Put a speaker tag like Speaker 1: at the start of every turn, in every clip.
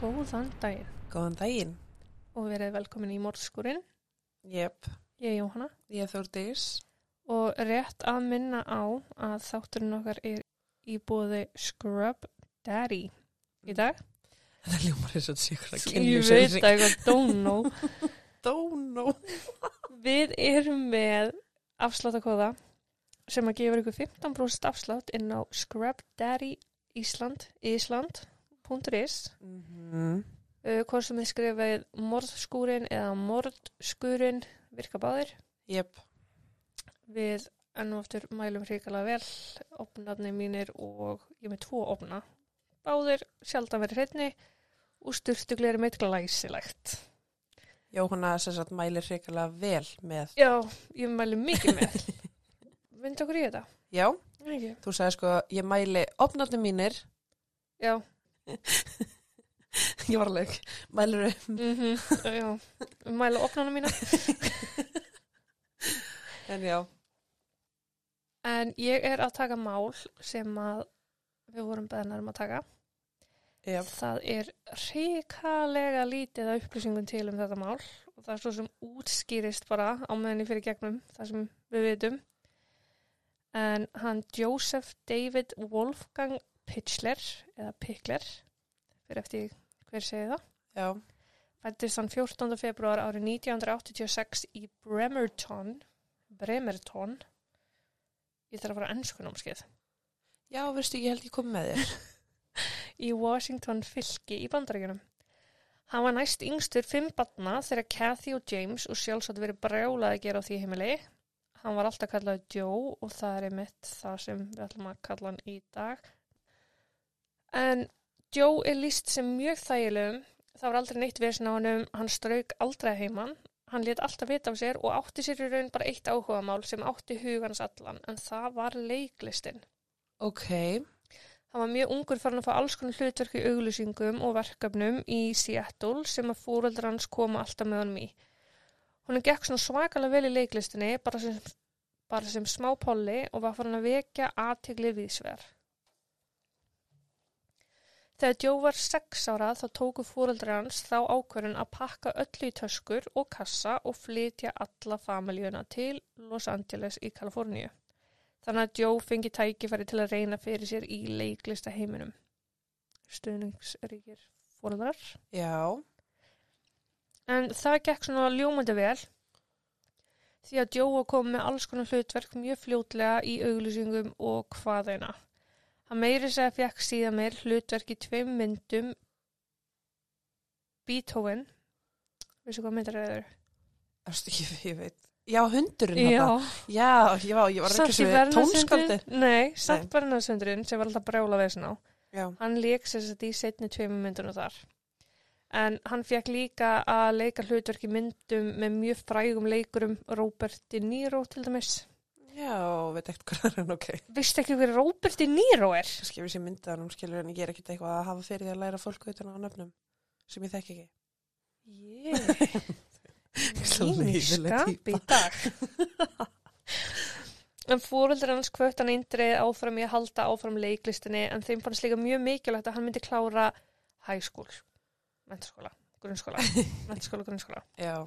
Speaker 1: Góðan daginn
Speaker 2: Góðan daginn.
Speaker 1: og verið velkomin í Mórskurinn,
Speaker 2: Jep,
Speaker 1: ég er Jóhanna
Speaker 2: ég er Þórdís.
Speaker 1: og rétt að minna á að þátturinn okkar er í bóði Scrub Daddy í dag.
Speaker 2: Þetta ljómar eins og þetta sé ykkur að kynni
Speaker 1: Ég veit að eitthvað don't know.
Speaker 2: Dónó.
Speaker 1: Við erum með afsláttakóða sem að gefur ykkur 15% afslátt inn á scrubdaddy Ísland, Ísland.is
Speaker 2: Mhm.
Speaker 1: uh, hvort sem þið skrifið morðskúrin eða morðskurinn virka báðir.
Speaker 2: Jep,
Speaker 1: Við ennum aftur mælum hrikalega vel, opnarnir mínir og ég er með tvo opna. Báðir sjaldan verið hreitni og styrtugli er meitt glæsilegt.
Speaker 2: Jóhanna sem sagt mælir hrikalega vel með.
Speaker 1: Já, ég mælu mikið með. Vind okkur í þetta.
Speaker 2: Já,
Speaker 1: Ekki.
Speaker 2: þú sagði sko, ég mæli opnarnir mínir.
Speaker 1: Já,
Speaker 2: Ég var alveg, mælur upp.
Speaker 1: mm já, mæla opnana mína.
Speaker 2: En já.
Speaker 1: En ég er að taka mál sem að við vorum beðnar um að taka.
Speaker 2: Jep,
Speaker 1: Það er hrikalega lítið að upplýsingum til um þetta mál og það er svo sem útskýrist bara á meðan ég fyrir gegnum það sem við vitum. En hann Joseph David Wolfgang Pichler, eða Pickler, fyrir eftir hver segir það,
Speaker 2: já,
Speaker 1: fættist hann 14. februar árið 1986 í Bremerton, Bremerton, ég þarf að fara ennskunámskeið,
Speaker 2: já, veistu, ég held ég kom með þér.
Speaker 1: í Washington fylki í bandaríkunum. Hann var næst yngstur fimm batna þegar Kathy og James og sjálfsagt verið brjálað að gera á því heimili. Hann var alltaf kallaði Joe og það er mitt það sem við ætlum að kalla hann í dag. En Joe er líst sem mjög þægilegum. Það var aldrei neitt vesen á honum, hann strauk aldrei heimann. Hann lét alltaf vita af sér og átti sér í raun bara eitt áhugamál sem átti hugans allan en það var leiklistin.
Speaker 2: Ok,
Speaker 1: Hann var mjög ungur farin að fá alls konar hlutverk í auglýsingum og verkefnum í Seattle sem að fóreldrar hans koma alltaf með honum í. Hún gekk svona svakalega vel í leiklistinni, bara sem, bara sem smá polli og var farin að vekja aðtegli viðsver. Þegar Joe var sex ára þá tóku fóreldrar hans þá ákvörðin að pakka öllu í töskur og kassa og flytja alla familjuna til Los Angeles í Kaliforníu þannig að Joe fengi tækifæri til að reyna fyrir sér í leiklista heiminum. Stuðningsríkir fórðar.
Speaker 2: já,
Speaker 1: En það gekk svona ljómandi vel því að Joe var komið með alls konar hlutverk mjög fljótlega í auglýsingum og hvaðina. Hann meiri sér að fekk síðan meir hlutverk í tveim myndum Beethoven Vissu hvað myndar það eru?
Speaker 2: veistu, ég, ég veit. Já, hundurinn þetta. Já, já, ég var ekki
Speaker 1: Samt í
Speaker 2: svo tónskaldið.
Speaker 1: Vernasundurinn- Nei, samt verðnarsundurinn sem var alltaf brjála vesen á.
Speaker 2: Já,
Speaker 1: Hann leik sér þess að í setni tveimur myndunum þar. En hann fekk líka að leika hlutverk í myndum með mjög frægum leikurum Robert De Niro til dæmis.
Speaker 2: já, veit ekkert hvað það er en ok.
Speaker 1: Vist ekki hver Robert De Niro er?
Speaker 2: kannski ef ég sé myndaðanum skilur en ég er ekkert eitthvað að hafa fyrir því að læra fólk utan á nöfnum sem ég þekk ekki.
Speaker 1: Ég,
Speaker 2: Svo
Speaker 1: mínu
Speaker 2: leiðileg
Speaker 1: skapi í dag. En fóröldur hans kvött hann eindreið áfram í að halda áfram leiklistinni en þeim fannst líka mjög mikilvægt að hann myndi klára high school, mentaskóla, grunnskóla, mentaskóla, grunnskóla.
Speaker 2: Já,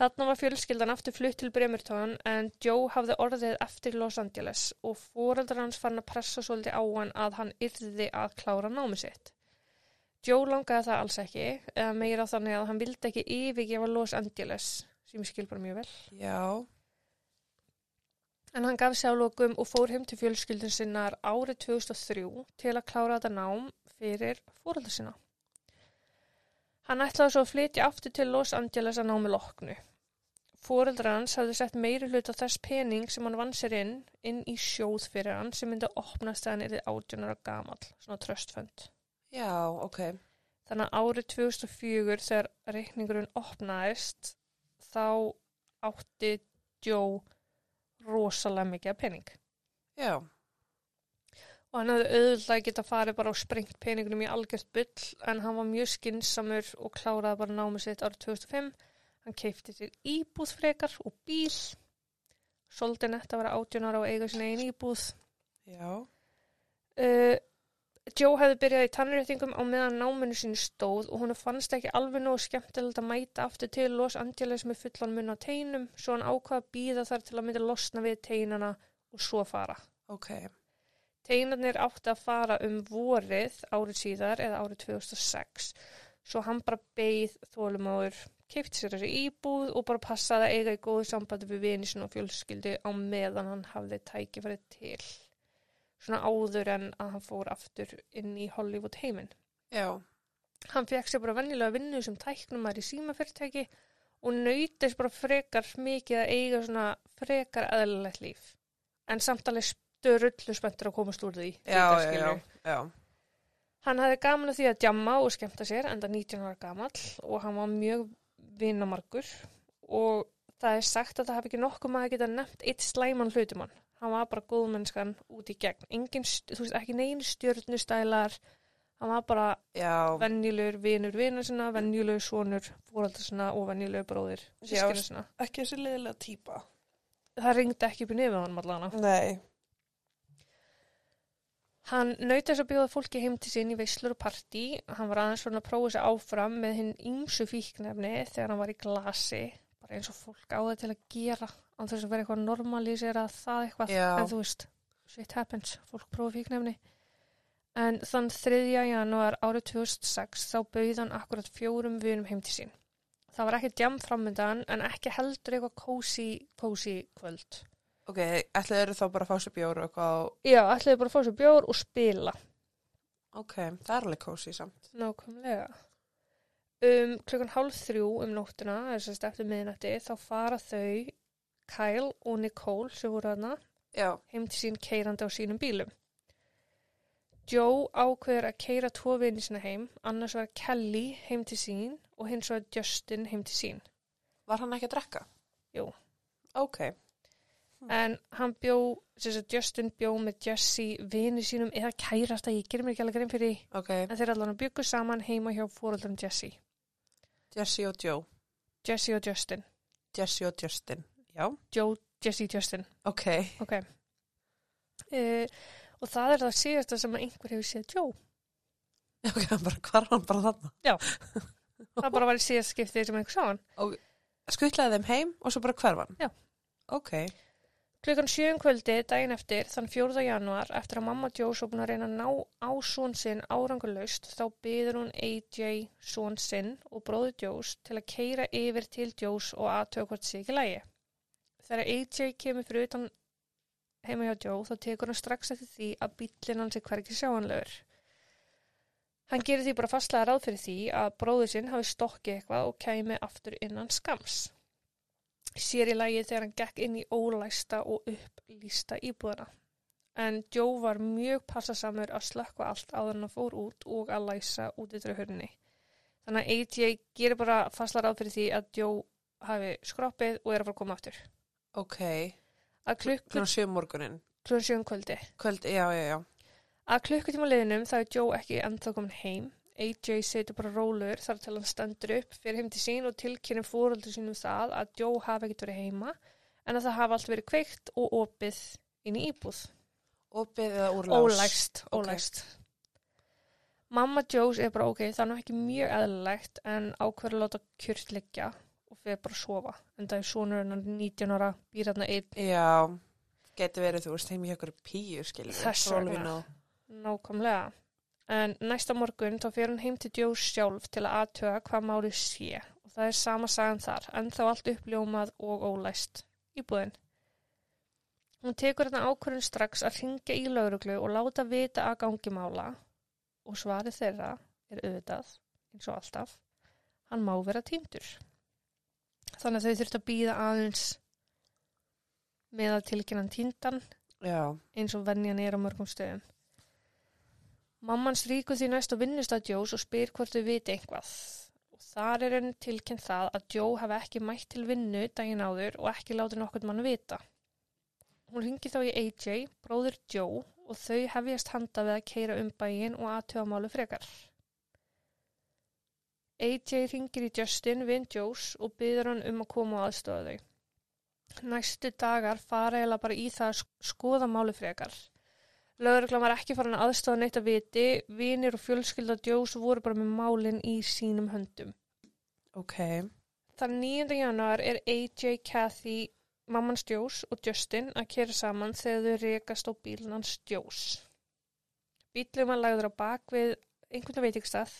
Speaker 1: Þarna var fjölskyldan aftur flutt til Bremerton en Joe hafði orðið eftir í Los Angeles og fóreldrar hans fann að pressa svolítið á hann að hann yrði að klára námi sitt. Joe langaði það alls ekki, eða meira þannig að hann vildi ekki yfirgefa Los Angeles, sem ég skil bara mjög vel.
Speaker 2: já,
Speaker 1: En hann gaf sér á lokum og fór heim til fjölskyldun sinnar árið 2003 til að klára þetta nám fyrir fóröldur sinna. Hann ætlaði svo að flytja aftur til Los Angeles að námi loknu. Fóröldur hans hafði sett meiri hlut á þess pening sem hann vann sér inn, inn í sjóð fyrir hann sem myndi að opnast þegar hann yfir 18 ára gamall, svona tröstfönd.
Speaker 2: já, ok.
Speaker 1: Þannig að árið 2004 þegar reikningurinn opnaðist þá átti Joe rosalega mikið af pening.
Speaker 2: Já,
Speaker 1: og hann hefði auðvitað geta farið bara og sprengt peningunum í algjört byll en hann var mjög skinsamur og kláraði bara námið sitt árið 2005 hann keipti sér íbúð frekar og bíl soldi netta að vera 18 ára og eiga sinna einn íbúð
Speaker 2: já,
Speaker 1: uh, Joe hefði byrjað í tannréttingum á meðan náminu sín stóð og hún fannst ekki alveg nógu skemmtilegt að mæta aftur til Los Angeles með fullan mun á teinum svo hann ákvað að býða þar til að myndi losna við teinana og svo fara.
Speaker 2: Ok,
Speaker 1: Teinarnir átti að fara um vorið árið síðar eða árið 2006 svo hann bara beið þólumáður, keipt sér þessi íbúð og bara passaði að eiga í góðu sambandi við vinisin og fjölskyldu á meðan hann hafði tækifærið til svona áður en að hann fór aftur inn í Hollywood heiminn.
Speaker 2: já,
Speaker 1: Hann fekk sér bara venjulega vinnu sem tæknumar í símafyrirtæki og nautist bara frekar mikið að eiga svona frekar eðlilegt líf. En samt alveg störullu spenntur að komast úr því.
Speaker 2: já,
Speaker 1: þetta
Speaker 2: já,
Speaker 1: skilur
Speaker 2: já,
Speaker 1: við.
Speaker 2: já,
Speaker 1: Hann hafði gaman að því að djamma og skemmta sér enda 19 ára gamall og hann var mjög vinamargur og það er sagt að það hafi ekki nokkuð maður geta nefnt eitt slæman hlutum hann. Hann var bara góðmennskan út í gegn. Engin, st- þú veist, ekki negin stjörnustælar. Hann var bara
Speaker 2: já,
Speaker 1: venjulegur vinur vinur sinna, venjulegur sonur fóraldar sinna og venjulegur bróðir sískina
Speaker 2: Já.
Speaker 1: sinna.
Speaker 2: ekki þessi liðilega típa.
Speaker 1: Það ringdi ekki upp í nefið á hann allana.
Speaker 2: Nei,
Speaker 1: Hann naut þess að bjóða fólki heim til sín í veislur og partí. Hann var aðeins svona að prófa sig áfram með hinn ýmsu fíknefni þegar hann var í glasi. Bara eins og fólk á það til að gera. Án þess að vera eitthvað normalísera það eitthvað.
Speaker 2: Já.
Speaker 1: En þú veist, shit happens. Fólk prófa fíknefni. En þann 3. janúar árið 2006 þá bauð hann akkurat fjórum vinum heim til sín. Það var ekki djam framöndan en ekki heldur eitthvað kósi, kósi kvöld.
Speaker 2: ok, ætlaðu eru þá bara að fá sér bjóru og eitthvað, og-
Speaker 1: Já, ætlaði bara að fá sér bjór og spila.
Speaker 2: ok, það er alveg kósi samt.
Speaker 1: Nákvæmlega. Um klukkan hálf þrjú um nóttina, þess að eftir miðnætti, þá fara þau, Kyle og Nicole sem voru hana,
Speaker 2: Já,
Speaker 1: heim til sín keirandi á sínum bílum. Joe ákveður að keira tvo vini sína heim, annars var Kelly heim til sín og hins var Justin heim til sín.
Speaker 2: var hann ekki að drekka?
Speaker 1: Jú.
Speaker 2: Ok,
Speaker 1: En hann bjó, þess að Justin bjó með Jesse vini sínum eða kærasta, ég gerir mér ekki alveg grein fyrir því,
Speaker 2: ok,
Speaker 1: en þeir allan byggu saman heima hjá fóröldrum Jesse.
Speaker 2: Jesse og Joe,
Speaker 1: Jesse og Justin.
Speaker 2: Jesse og Justin, já,
Speaker 1: Joe, Jesse, Justin.
Speaker 2: ok,
Speaker 1: Ok. Uh, og það er það síðasta sem að einhver hefur séð Joe.
Speaker 2: ok, hann bara, hvað er hann bara þarna?
Speaker 1: Það bara var í síðasta skiptið sem einhver sá hann.
Speaker 2: Skutlaði þeim heim og svo bara hverfan?
Speaker 1: Já.
Speaker 2: Ok,
Speaker 1: Klukkan sjöum kvöldi daginn eftir, þann 4. januar, eftir að mamma Joe svo búin að reyna að ná á són sinn árangurlaust, þá byður hún AJ són sinn og bróði Joes til að keira yfir til Joes og aðtöða hvort sé ekki lægi. Þegar AJ kemur fyrir utan heima hjá Joe, þá tekur hann strax eftir því að bíllinn hans er hvergi sjáanlegur. Hann gerir því bara fastlega ráð fyrir því að bróði sinn hafi stokkið eitthvað og kæmi aftur innan skams sér í lagi þegar hann gekk inn í ólæsta og upplýsta íbúðana. En Joe var mjög passasamur að slökkva allt áður en hann fór út og að læsa út yfir hörni. Þannig að AJ gerir bara fastlar áð fyrir því að Joe hafi skroppið og er að fara að koma aftur.
Speaker 2: ok,
Speaker 1: Að klukku
Speaker 2: klunum sjö morgunin,
Speaker 1: klukkan um sjöum kvöldi.
Speaker 2: kvöld, já, já, já,
Speaker 1: Að klukkutíma liðinum þá er Joe ekki ennþá komin heim. AJ setur bara rólur þar til hann stendur upp fyrir heim til sín og tilkynir fóröldur sínum það að Joe hafi ekkert verið heima en að það hafi allt verið kveikt og opið inn í íbúð.
Speaker 2: opið eða úrlás?
Speaker 1: Ólæst,
Speaker 2: Ok.
Speaker 1: ólæst. Mamma Joes er bara ok, það er nú ekki mjög eðlilegt en ákveður að láta kjurt liggja og fyrir bara að sofa. En það er sonur hennar 19 ára, býr hérna einn
Speaker 2: Já, getur verið, þú veist, heim í okkur píu, skilur.
Speaker 1: Þess vegna. nákvæmlega. En næsta morgun þá fyrir hann heim til Joes sjálf til að aðtöga hvað málið sé. Og það er sama sagan þar, en þá allt uppljómað og ólæst í búðin. Hún tekur hérna ákvörðin strax að ringja í lauruglu og láta vita að gangi mála og svarið þeirra er auðvitað, eins og alltaf, hann má vera týndur. Þannig að þau þurft að býða aðeins með að tilkynna hann týndan
Speaker 2: Já,
Speaker 1: eins og venjan er á mörgum stöðum. Mammans ríkur því næst á vinnustad Jós og spyr hvort þau viti eitthvað. Og þar er henni tilkynnt það að Jó hafi ekki mætt til vinnu daginn áður og ekki látið nokkurn mann vita. Hún ringi þá í AJ, bróður Jó, og þau hefjast handa við að keira um bæin og aðtöða málu frekar. AJ ringir í Justin, vinn Jós, og byður hann um að koma og aðstöða þau næstu dagar fara eiginlega bara í það að sk- skoða máli frekar. Lögreglan var ekki farin að aðstofa neitt að viti, vinir og fjölskylda Joes voru bara með málin í sínum höndum.
Speaker 2: Ok.
Speaker 1: Þann 9. januar er AJ, Kathy, mamman Joes og Justin að kera saman þegar þau rekast á bílinn hans Joes. Bílum var lagður á bak við einhvern veitingstað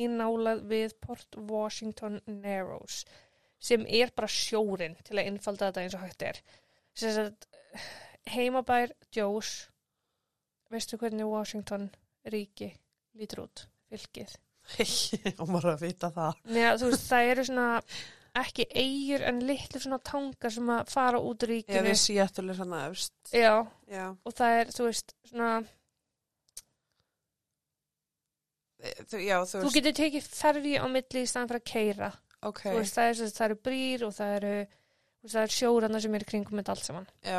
Speaker 1: í nálað við Port Washington Narrows sem er bara sjórin til að innfalda þetta eins og hægt er. Sem sagt, heimabær Joes, veistu hvernig Washington ríki lítur út, fylkið?
Speaker 2: og maður að vita það.
Speaker 1: Neða, þú veist, það eru svona ekki eigur en litlu svona tangar sem að fara út úr
Speaker 2: Ég
Speaker 1: ríkinu.
Speaker 2: við síðatúlega svona öfst.
Speaker 1: Já,
Speaker 2: Já.
Speaker 1: og það er, þú veist, svona,
Speaker 2: Þú, já,
Speaker 1: þú
Speaker 2: þú veist,
Speaker 1: getur tekið ferði á milli í staðan fyrir að keira.
Speaker 2: ok,
Speaker 1: Þú veist, það, er, sem sagt- það eru brýr og það eru, þú veist, það eru sjórarna sem eru í kringum þetta allt saman.
Speaker 2: já,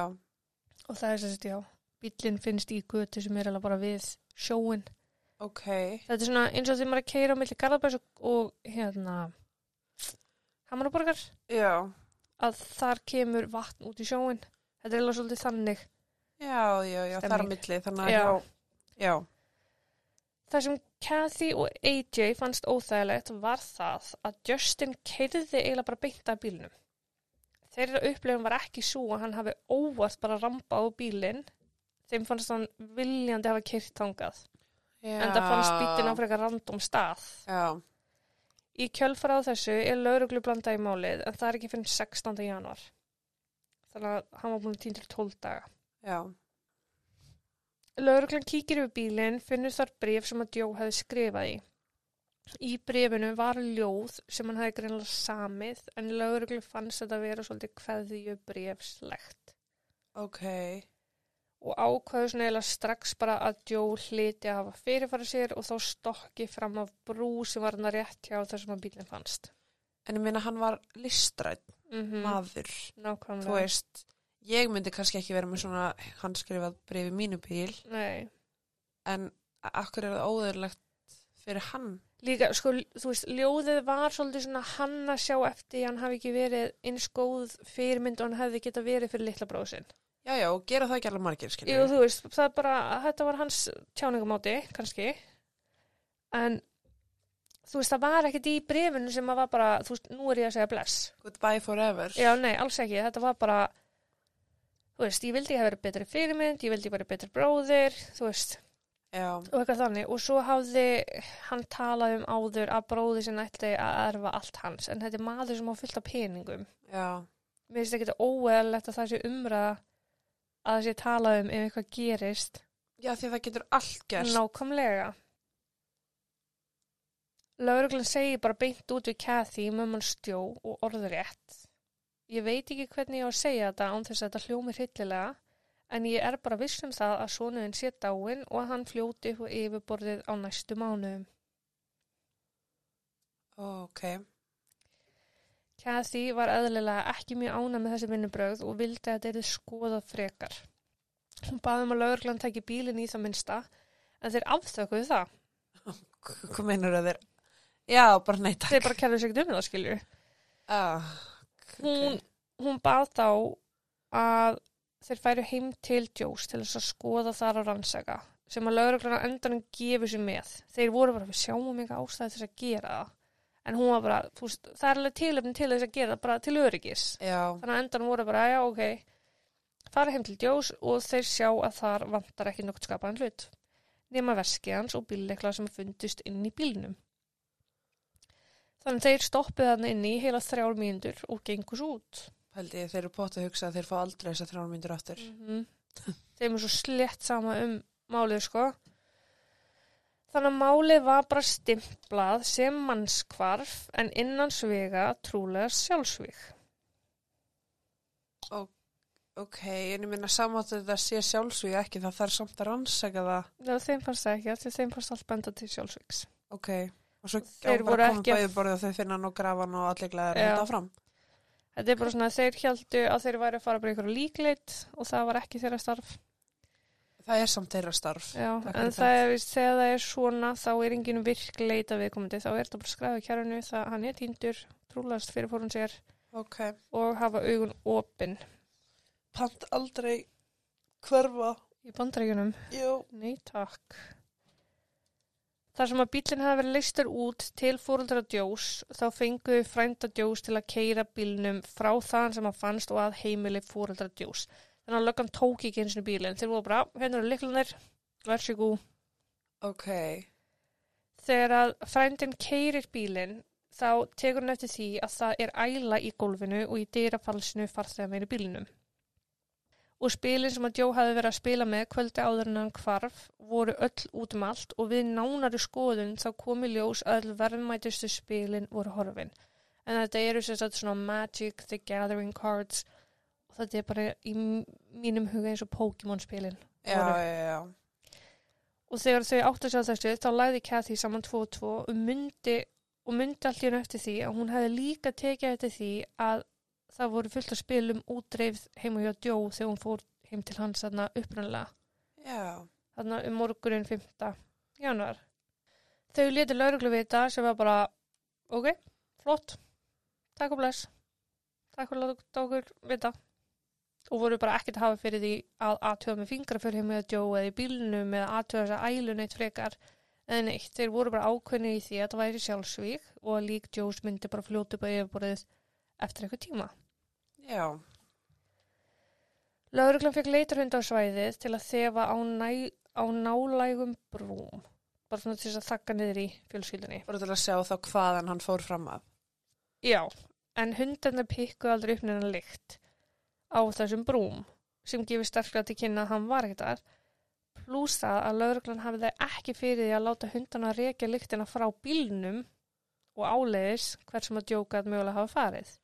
Speaker 1: Og það er, sem sagt, já, bíllinn finnst í götu sem er alveg bara við sjóin.
Speaker 2: ok,
Speaker 1: Þetta er svona eins og þegar maður er að keira á milli Garðabæs og, og hérna, Hamaraborgar,
Speaker 2: já,
Speaker 1: að þar kemur vatn út í sjóin. Þetta er alveg svolítið þannig.
Speaker 2: já, já, já, þar á
Speaker 1: Stemning.
Speaker 2: milli, þannig að,
Speaker 1: Já.
Speaker 2: já, já,
Speaker 1: Það sem Kathy og AJ fannst óþægilegt var það að Justin keirði eiginlega bara beint af bílnum. Þeirra upplifun var ekki svo að hann hafi óvart bara rampað á bílinn. Þeim fannst hann viljandi hafa keirt þangað.
Speaker 2: já.
Speaker 1: En það fannst bílinn á frekar random stað.
Speaker 2: Já,
Speaker 1: Í kjölfara á þessu er lauruglu blandað í málið en það er ekki fyrir 16. januar. Þannig að hann var búin tín til 12 daga.
Speaker 2: já,
Speaker 1: Lauruglan kíkir yfir bílinn, finnur þar bref sem að Jó hefði skrifað í. Í brefinu var ljóð sem hann hefði greinlega samið en lauruglu fannst þetta að vera svolítið kveðju brefslegt.
Speaker 2: ok,
Speaker 1: Og ákvaðu svona eiginlega strax bara að Jó hliti að hafa fyrirfara sér og þá stokki fram af brú sem var hann að rétt hjá þar sem að bílinn fannst.
Speaker 2: en ég minna hann var listrætt
Speaker 1: Mm
Speaker 2: maður,
Speaker 1: Nákvæmlega.
Speaker 2: þú veist, ég myndi kannski ekki vera með svona handskrifað breyfi mínu bíl,
Speaker 1: Nei.
Speaker 2: en akkur er það óðurlegt fyrir hann,
Speaker 1: Líka, sko, þú veist, ljóðið var svolítið svona hann að sjá eftir að hann hafi ekki verið eins góð fyrirmynd og hann hefði geta verið fyrir litla bróðsinn.
Speaker 2: já, já, og gera það ekki alveg margir, skiljum
Speaker 1: Jú, þú veist, það er bara, þetta var hans tjáningamáti, kannski, en þú veist, það var ekkert í brefinu sem að var bara, þú veist, nú er ég að segja bless.
Speaker 2: Goodbye forever.
Speaker 1: Já, nei, alls ekki, þetta var bara, þú veist, ég vildi ég hafa verið betri fyrirmynd, ég vildi ég verið betri bróðir, þú veist,
Speaker 2: Já,
Speaker 1: og eitthvað þannig. Og svo hafði hann talað um áður að bróði sinna ætti að erfa allt hans, en þetta er maður sem á fullt af peningum.
Speaker 2: já,
Speaker 1: Mér finnst ekki þetta óeðalegt að það sé umræða að það sé talað um ef eitthvað gerist.
Speaker 2: já, því að það getur allt gerst.
Speaker 1: Nákvæmlega. Lauruglan segir bara beint út við Kathy, mömmun stjó og orðrétt. Ég veit ekki hvernig ég á að segja þetta án þess að þetta hljómi hryllilega, en ég er bara viss um það að sonuðin sé dáin og að hann fljóti upp á yfirborðið á næstu mánuðum.
Speaker 2: Ok,
Speaker 1: Kathy var eðlilega ekki mjög ána með þessi vinnubrögð og vildi að þetta erði skoðað frekar. Hún baði um að lauruglan tæki bílinn í það minnsta, en þeir afþökuðu það.
Speaker 2: K- hvað meinur það þér? Já, bara nei, takk.
Speaker 1: Þeir bara kerðu sig ekki um það, skilju.
Speaker 2: Ah, ok,
Speaker 1: hún, hún bað þá að þeir færu heim til Jós til þess að skoða þar og rannsaka sem að lögreglana endanum gefur sér með. Þeir voru bara, við sjáum enga ástæði til þess að gera það. En hún var bara, þú veist, það er alveg tilöfni til þess að gera það bara til öryggis.
Speaker 2: Já,
Speaker 1: Þannig að endanum voru bara, já, ok, fara heim til Jós og þeir sjá að þar vantar ekki nokkuð skapaðan hlut. Nema veskið hans og bíllekla sem fundust inn í bílnum. Þannig að þeir stoppuðu hann inn í heila þrjár mínútur og gengur svo út.
Speaker 2: held ég, þeir eru potið að hugsa að þeir fá aldrei þess að þrjár myndir áttur.
Speaker 1: -hmm. Þeim er svo slett sama um málið sko. Þannig að málið var bara stimplað sem mannskvarf en innan svega trúlega sjálfsvík.
Speaker 2: Ok, en ég minna samátt að þetta sé sjálfsvíð ekki, það þarf samt að rannsaka það.
Speaker 1: Já, þeim fannst það ekki, af því að þeim fannst allt benda til sjálfsvíks.
Speaker 2: Ok, og svo
Speaker 1: Þeir
Speaker 2: á bara
Speaker 1: voru
Speaker 2: að koma
Speaker 1: ekki að-
Speaker 2: bæði borðið og þeir finna hann og grafa hann og allir glæðir
Speaker 1: Já.
Speaker 2: hann þetta fram.
Speaker 1: Þetta er bara svona að þeir hjaldu að þeir væri að fara bara í einhverju líkleitt og það var ekki þeirra starf.
Speaker 2: Það er samt þeirra starf.
Speaker 1: Já,
Speaker 2: Takk
Speaker 1: en
Speaker 2: fyrir
Speaker 1: það
Speaker 2: það.
Speaker 1: er víst þegar það er svona þá er engin virk leita viðkomandi. Þá er þetta bara skræðu kjærunu það hann er týndur, trúlegast fyrir fórun sér
Speaker 2: Ok,
Speaker 1: og hafa augun opinn.
Speaker 2: pant aldrei hverfa
Speaker 1: í bandaríkunum.
Speaker 2: Jú.
Speaker 1: Nei, takk. Þar sem að bílinn hafi verið leistur út til fóruldra djós, þá fengu þau frænda djós til að keira bílnum frá þaðan sem að fannst og að heimili fóruldra djós. Þannig að löggan tók ekki eins og bílinn. Þeir voru bara, hérna eru liklunir, versi gú.
Speaker 2: Ok.
Speaker 1: Þegar að frændin keirir bílinn, þá tekur hann eftir því að það er æla í gólfinu og í dyrafalsinu farþega meinu bílinum. Og spilin sem að Jó hafi verið að spila með kvöldi áður en hann hvarf voru öll út um allt og við nánari skoðun þá komi ljós að öll verðmætustu spilin voru horfin. En þetta eru sem sagt svona Magic, The Gathering Cards og þetta er bara í m- mínum huga eins og Pokémon spilin.
Speaker 2: Já,
Speaker 1: Voru.
Speaker 2: já, já.
Speaker 1: Og þegar þau átti sig á þessu þá læði Kathy saman 2 og 2 og myndi, og myndi allt í hennu eftir því að hún hefði líka tekið eftir því að það voru fullt af spilum útreifð heim og hjá Djó þegar hún fór heim til hans þarna upprunalega,
Speaker 2: Já.
Speaker 1: þarna um morgunin 5. januar. Þau leti lauruglu við þetta sem var bara, ok, flott, takk og bless, takk fyrir að láta okkur vita. Og voru bara ekkert að hafa fyrir því að aðtöða með fingra fyrir heim eða djó eða í bílnum eða aðtöða þess að ælu neitt frekar eða neitt. Þeir voru bara ákveðnir í því að það væri sjálfsvík og að lík djós myndi bara fljóta upp á yfirborðið eftir eitthvað tíma.
Speaker 2: Já.
Speaker 1: Lauruglan fekk leitarhund á svæðið til að þefa á, næ, á nálægum brúm. Bara svona til þess að þakka niður í fjölskyldunni.
Speaker 2: Bara til að sjá þá hvaðan hann fór fram af.
Speaker 1: Já, en hundarnir pikku aldrei upp neina lykt á þessum brúm sem gefur sterklega til kynna að hann var ekkert þar. Plús það að lauruglan hafið það ekki fyrir því að láta hundarna rekja lyktina frá bílnum og áleiðis hvert sem að djókað mögulega hafa farið.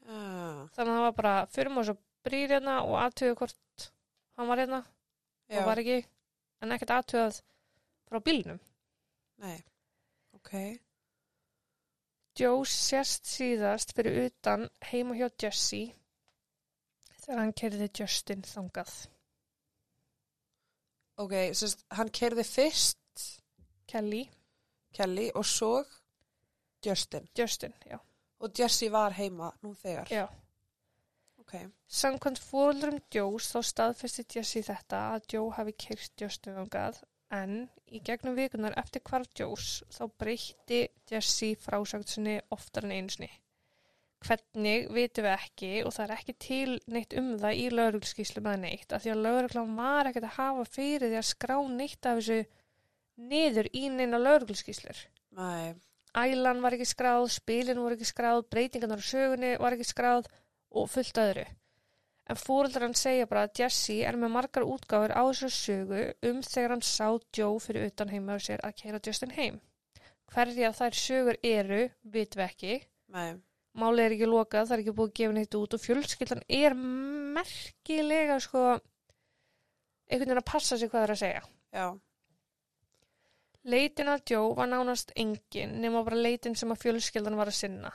Speaker 2: Já.
Speaker 1: Þannig að hann var bara fyrir mjög svo brýr hérna og aðtöðu hvort hann var hérna
Speaker 2: Já.
Speaker 1: og var ekki, en ekkert aðtöðað frá bílnum.
Speaker 2: Nei. Ok.
Speaker 1: Joe sérst síðast fyrir utan heima hjá Jesse þegar hann kerði Justin þangað.
Speaker 2: Ok, sérst, hann kerði fyrst
Speaker 1: Kelly,
Speaker 2: Kelly og svo Justin.
Speaker 1: Justin, já.
Speaker 2: Og Jesse var heima nú þegar.
Speaker 1: Já.
Speaker 2: Ok.
Speaker 1: Samkvæmt fóruldrum Joes þá staðfesti Jesse þetta að Joe hafi kyrkt Justin þangað en í gegnum vikunar eftir hvarf Joes þá breytti Jesse frásagtsinni oftar en einsni. Hvernig vitum við ekki og það er ekki til neitt um það í lauruglskíslu með neitt af því að lauruglan var ekkert að hafa fyrir því að skrá neitt af þessu niður í neina lauruglskíslur.
Speaker 2: Nei.
Speaker 1: Ælan var ekki skráð, spilin voru ekki skráð, breytingarnar á sögunni var ekki skráð og fullt öðru. En fóreldrar hann segja bara að Jesse er með margar útgáfur á þessu sögu um þegar hann sá Joe fyrir utan heima á sér að keira Justin heim. Hverja þær sögur eru, vitum við ekki.
Speaker 2: Nei.
Speaker 1: Málið er ekki lokað, það er ekki búið að gefa neitt út og fjölskyldan er merkilega sko einhvern veginn að passa sig hvað það er að segja.
Speaker 2: Já.
Speaker 1: Leitin að Joe var nánast engin nema bara leitin sem að fjölskyldan var að sinna.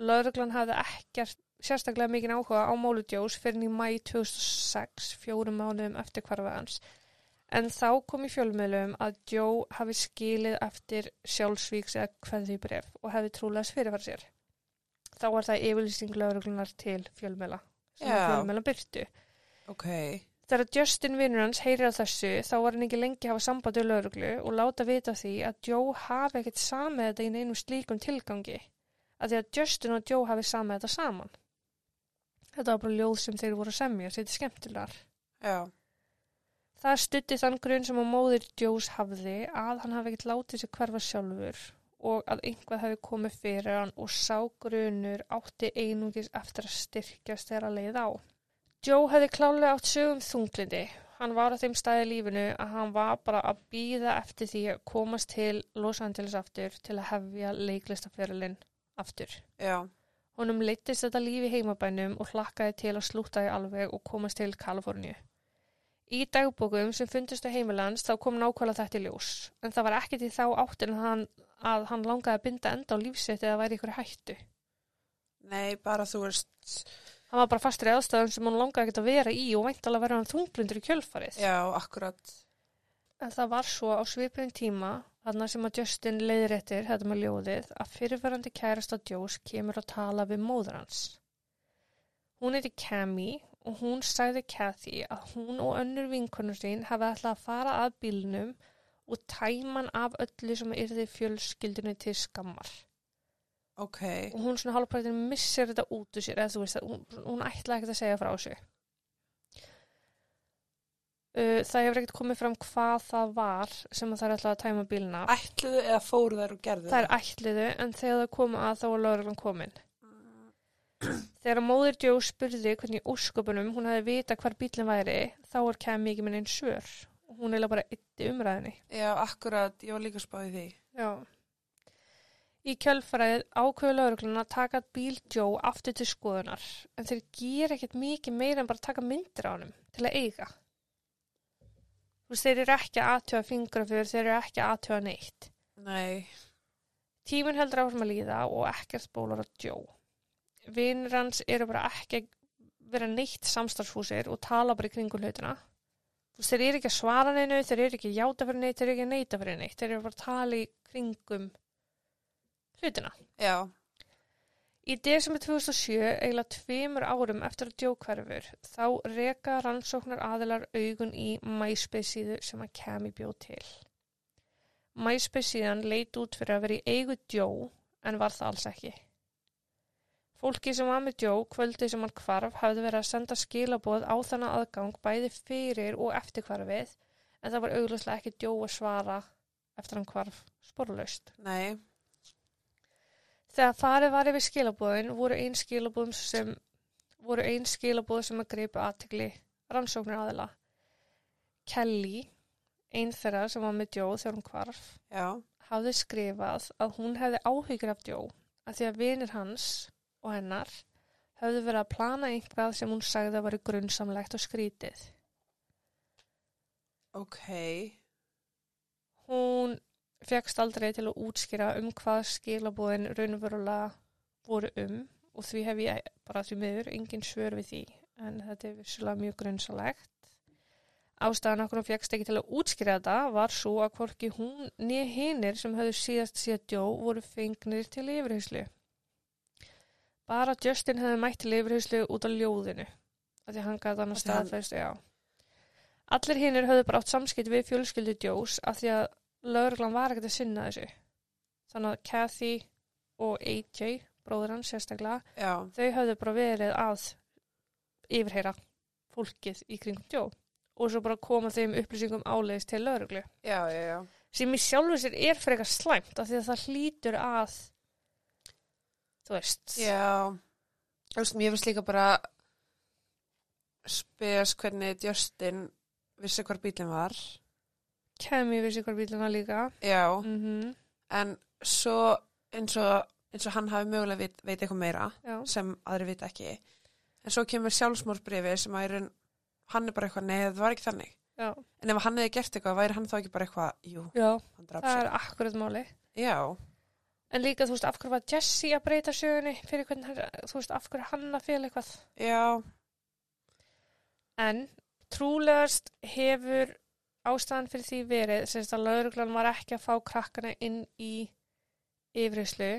Speaker 1: Lauruglan hafði ekkert sérstaklega mikinn áhuga á málu Joes fyrir í mæ 2006, fjórum mánuðum eftir hvarfa hans. En þá kom í fjölmiðlum að Joe hafi skilið eftir sjálfsvíks eða hverði bref og hefði trúlegast fyrirfara sér. Þá var það yfirlýsing lauruglunar til fjölmiðla sem
Speaker 2: Já.
Speaker 1: yeah. fjölmiðla byrtu.
Speaker 2: Ok.
Speaker 1: Þegar Justin vinnur hans heyrir að þessu þá var hann ekki lengi að hafa samband við lauruglu og láta vita af því að Joe hafi ekkert samið þetta í neinum slíkum tilgangi að því að Justin og Joe hafi samið þetta saman. Þetta var bara ljóð sem þeir voru að semja, þetta er skemmtilegar.
Speaker 2: Já.
Speaker 1: Það stutti þann grunn sem að móðir Joes hafði að hann hafi ekkert látið sér hverfa sjálfur og að einhvað hafi komið fyrir hann og sá grunur átti einungis eftir að styrkjast þegar að leið á. Joe hefði klálega átt sögum þunglindi. Hann var á þeim staði í lífinu að hann var bara að býða eftir því að komast til Los Angeles aftur til að hefja leiklistaferilinn aftur.
Speaker 2: Já.
Speaker 1: Honum leittist þetta lífi heimabænum og hlakkaði til að slúta í alveg og komast til Kaliforníu. Í dagbókum sem fundust á heimilans þá kom nákvæmlega þetta í ljós, en það var ekkert í þá áttin að hann, að hann langaði að binda enda á lífsitt eða væri ykkur hættu.
Speaker 2: Nei, bara þú veist,
Speaker 1: Hann var bara fastur í aðstæðum sem hann langaði ekkert að vera í og væntalega verið hann þungblindur í kjölfarið.
Speaker 2: já, akkurat.
Speaker 1: En það var svo á svipin tíma, þarna sem að Justin leiðréttir, þetta með ljóðið, að fyrirverandi kærasta Joes kemur að tala við móður hans. Hún heiti Cammy og hún sagði Kathy að hún og önnur vinkonur sín hafi ætlað að fara að bílnum og tæma hann af öllu sem yrði fjölskyldinu til skammar.
Speaker 2: Ok,
Speaker 1: Og hún svona hálfprættin missir þetta út úr sér eða þú veist að hún, hún ætlaði ekkert að segja frá þessu. Uh, það hefur ekkert komið fram hvað það var sem það er ætlað að tæma bílna.
Speaker 2: ætluðu eða fóru þær og gerðu
Speaker 1: Það er ætliðu en þegar það kom að þá var lögreglan komin. Þegar móðir Jó spurði hvernig í ósköpunum hún hefði vita hvar bílinn væri, þá er kemmi ekki minn einn svör. Og Hún er bara ytti umræðinni.
Speaker 2: Já, akkurat, ég var líka spáðið því.
Speaker 1: Já. Í kjölfræðið ákveður lögreglan að taka bíl Jó aftur til skoðunar, en þeir gera ekkert mikið meira en bara taka myndir á honum til að eiga. Þú veist, þeir eru ekki að aðtjóða fingra fyrir, þeir eru ekki að aðtjóða neitt.
Speaker 2: Nei,
Speaker 1: Tíminn heldur áfram að líða og ekkert bólar á Joe. Vinnir hans eru bara ekki að vera neitt samstarfshúsir og tala bara í kringum hlutina. Þú veist, Þeir eru ekki að svara neinu, þeir eru ekki að játa fyrir neitt, þeir eru ekki að neita fyrir neitt. Þeir eru bara að tala í kringum hlutina.
Speaker 2: já,
Speaker 1: Í desember 2007, eiginlega tveimur árum eftir að Joe hverfur, þá reka rannsóknar aðilar augun í MySpace síðu sem að Kemi bjóð til. MySpace síðan leit út fyrir að vera í eigu Joe en var það alls ekki. Fólki sem var með Joe kvöldið sem hann hvarf hafði verið að senda skilaboð á þannig aðgang bæði fyrir og eftir hvarfið en það var augljóslega ekki Joe að svara eftir hann hvarf sporlaust.
Speaker 2: nei,
Speaker 1: Þegar farið var yfir skilabóðin voru ein skilabóðum sem voru ein skilabóð sem að greipa aðtegli rannsóknir aðila. Kelly, ein þeirra sem var með Jó þegar hún hvarf,
Speaker 2: já,
Speaker 1: hafði skrifað að hún hefði áhyggjur af Jó að því að vinir hans og hennar höfðu verið að plana einhvað sem hún sagði að væri grunnsamlegt og skrítið.
Speaker 2: ok,
Speaker 1: Hún fegst aldrei til að útskýra um hvað skilabóðin raunverulega voru um og því hef ég bara því miður engin svör við því en þetta er vissulega mjög grunnsalegt. Ástæðan okkur hún fegst ekki til að útskýra þetta var svo að hvorki hún nýja hinir sem höfðu síðast síðan djó voru fengnir til yfirheyslu. Bara Justin hefði mætt til yfirheyslu út á ljóðinu. af Því að hann gæti annars
Speaker 2: Af því hann-
Speaker 1: staðfæst, já. Allir hinnir höfðu bara átt samskipt við fjölskyldu Joes af því að lögreglan var ekkert að sinna þessu. Þannig að Kathy og AJ, bróður hans sérstaklega,
Speaker 2: já,
Speaker 1: þau höfðu bara verið að yfirheyra fólkið í kringum Joe og svo bara koma þeim upplýsingum áleiðis til lögreglu.
Speaker 2: já, já, já.
Speaker 1: Sem í sjálfu sér er frekar slæmt af því að það hlýtur að, þú veist,
Speaker 2: Já, þú veist, mér finnst líka bara spes hvernig Justin vissi hvar bílinn var.
Speaker 1: kemi við sér hvar bílina líka.
Speaker 2: Já,
Speaker 1: Mm
Speaker 2: en svo eins og, eins og hann hafi mögulega veit, veit eitthvað meira
Speaker 1: Já,
Speaker 2: sem aðri veit ekki. En svo kemur sjálfsmórsbrifi sem að er en, hann er bara eitthvað, nei það var ekki þannig.
Speaker 1: já,
Speaker 2: En ef hann hefði gert eitthvað, væri hann þá ekki bara eitthvað, jú,
Speaker 1: já,
Speaker 2: hann draf
Speaker 1: það
Speaker 2: sér.
Speaker 1: er akkurat máli.
Speaker 2: Já,
Speaker 1: En líka, þú veist, af hverju var Jesse að breyta sögunni fyrir hvernig, hann- þú veist, af hverju hann að fela eitthvað.
Speaker 2: já,
Speaker 1: En trúlegast hefur ástæðan fyrir því verið, semst að lauruglan var ekki að fá krakkana inn í yfrislu,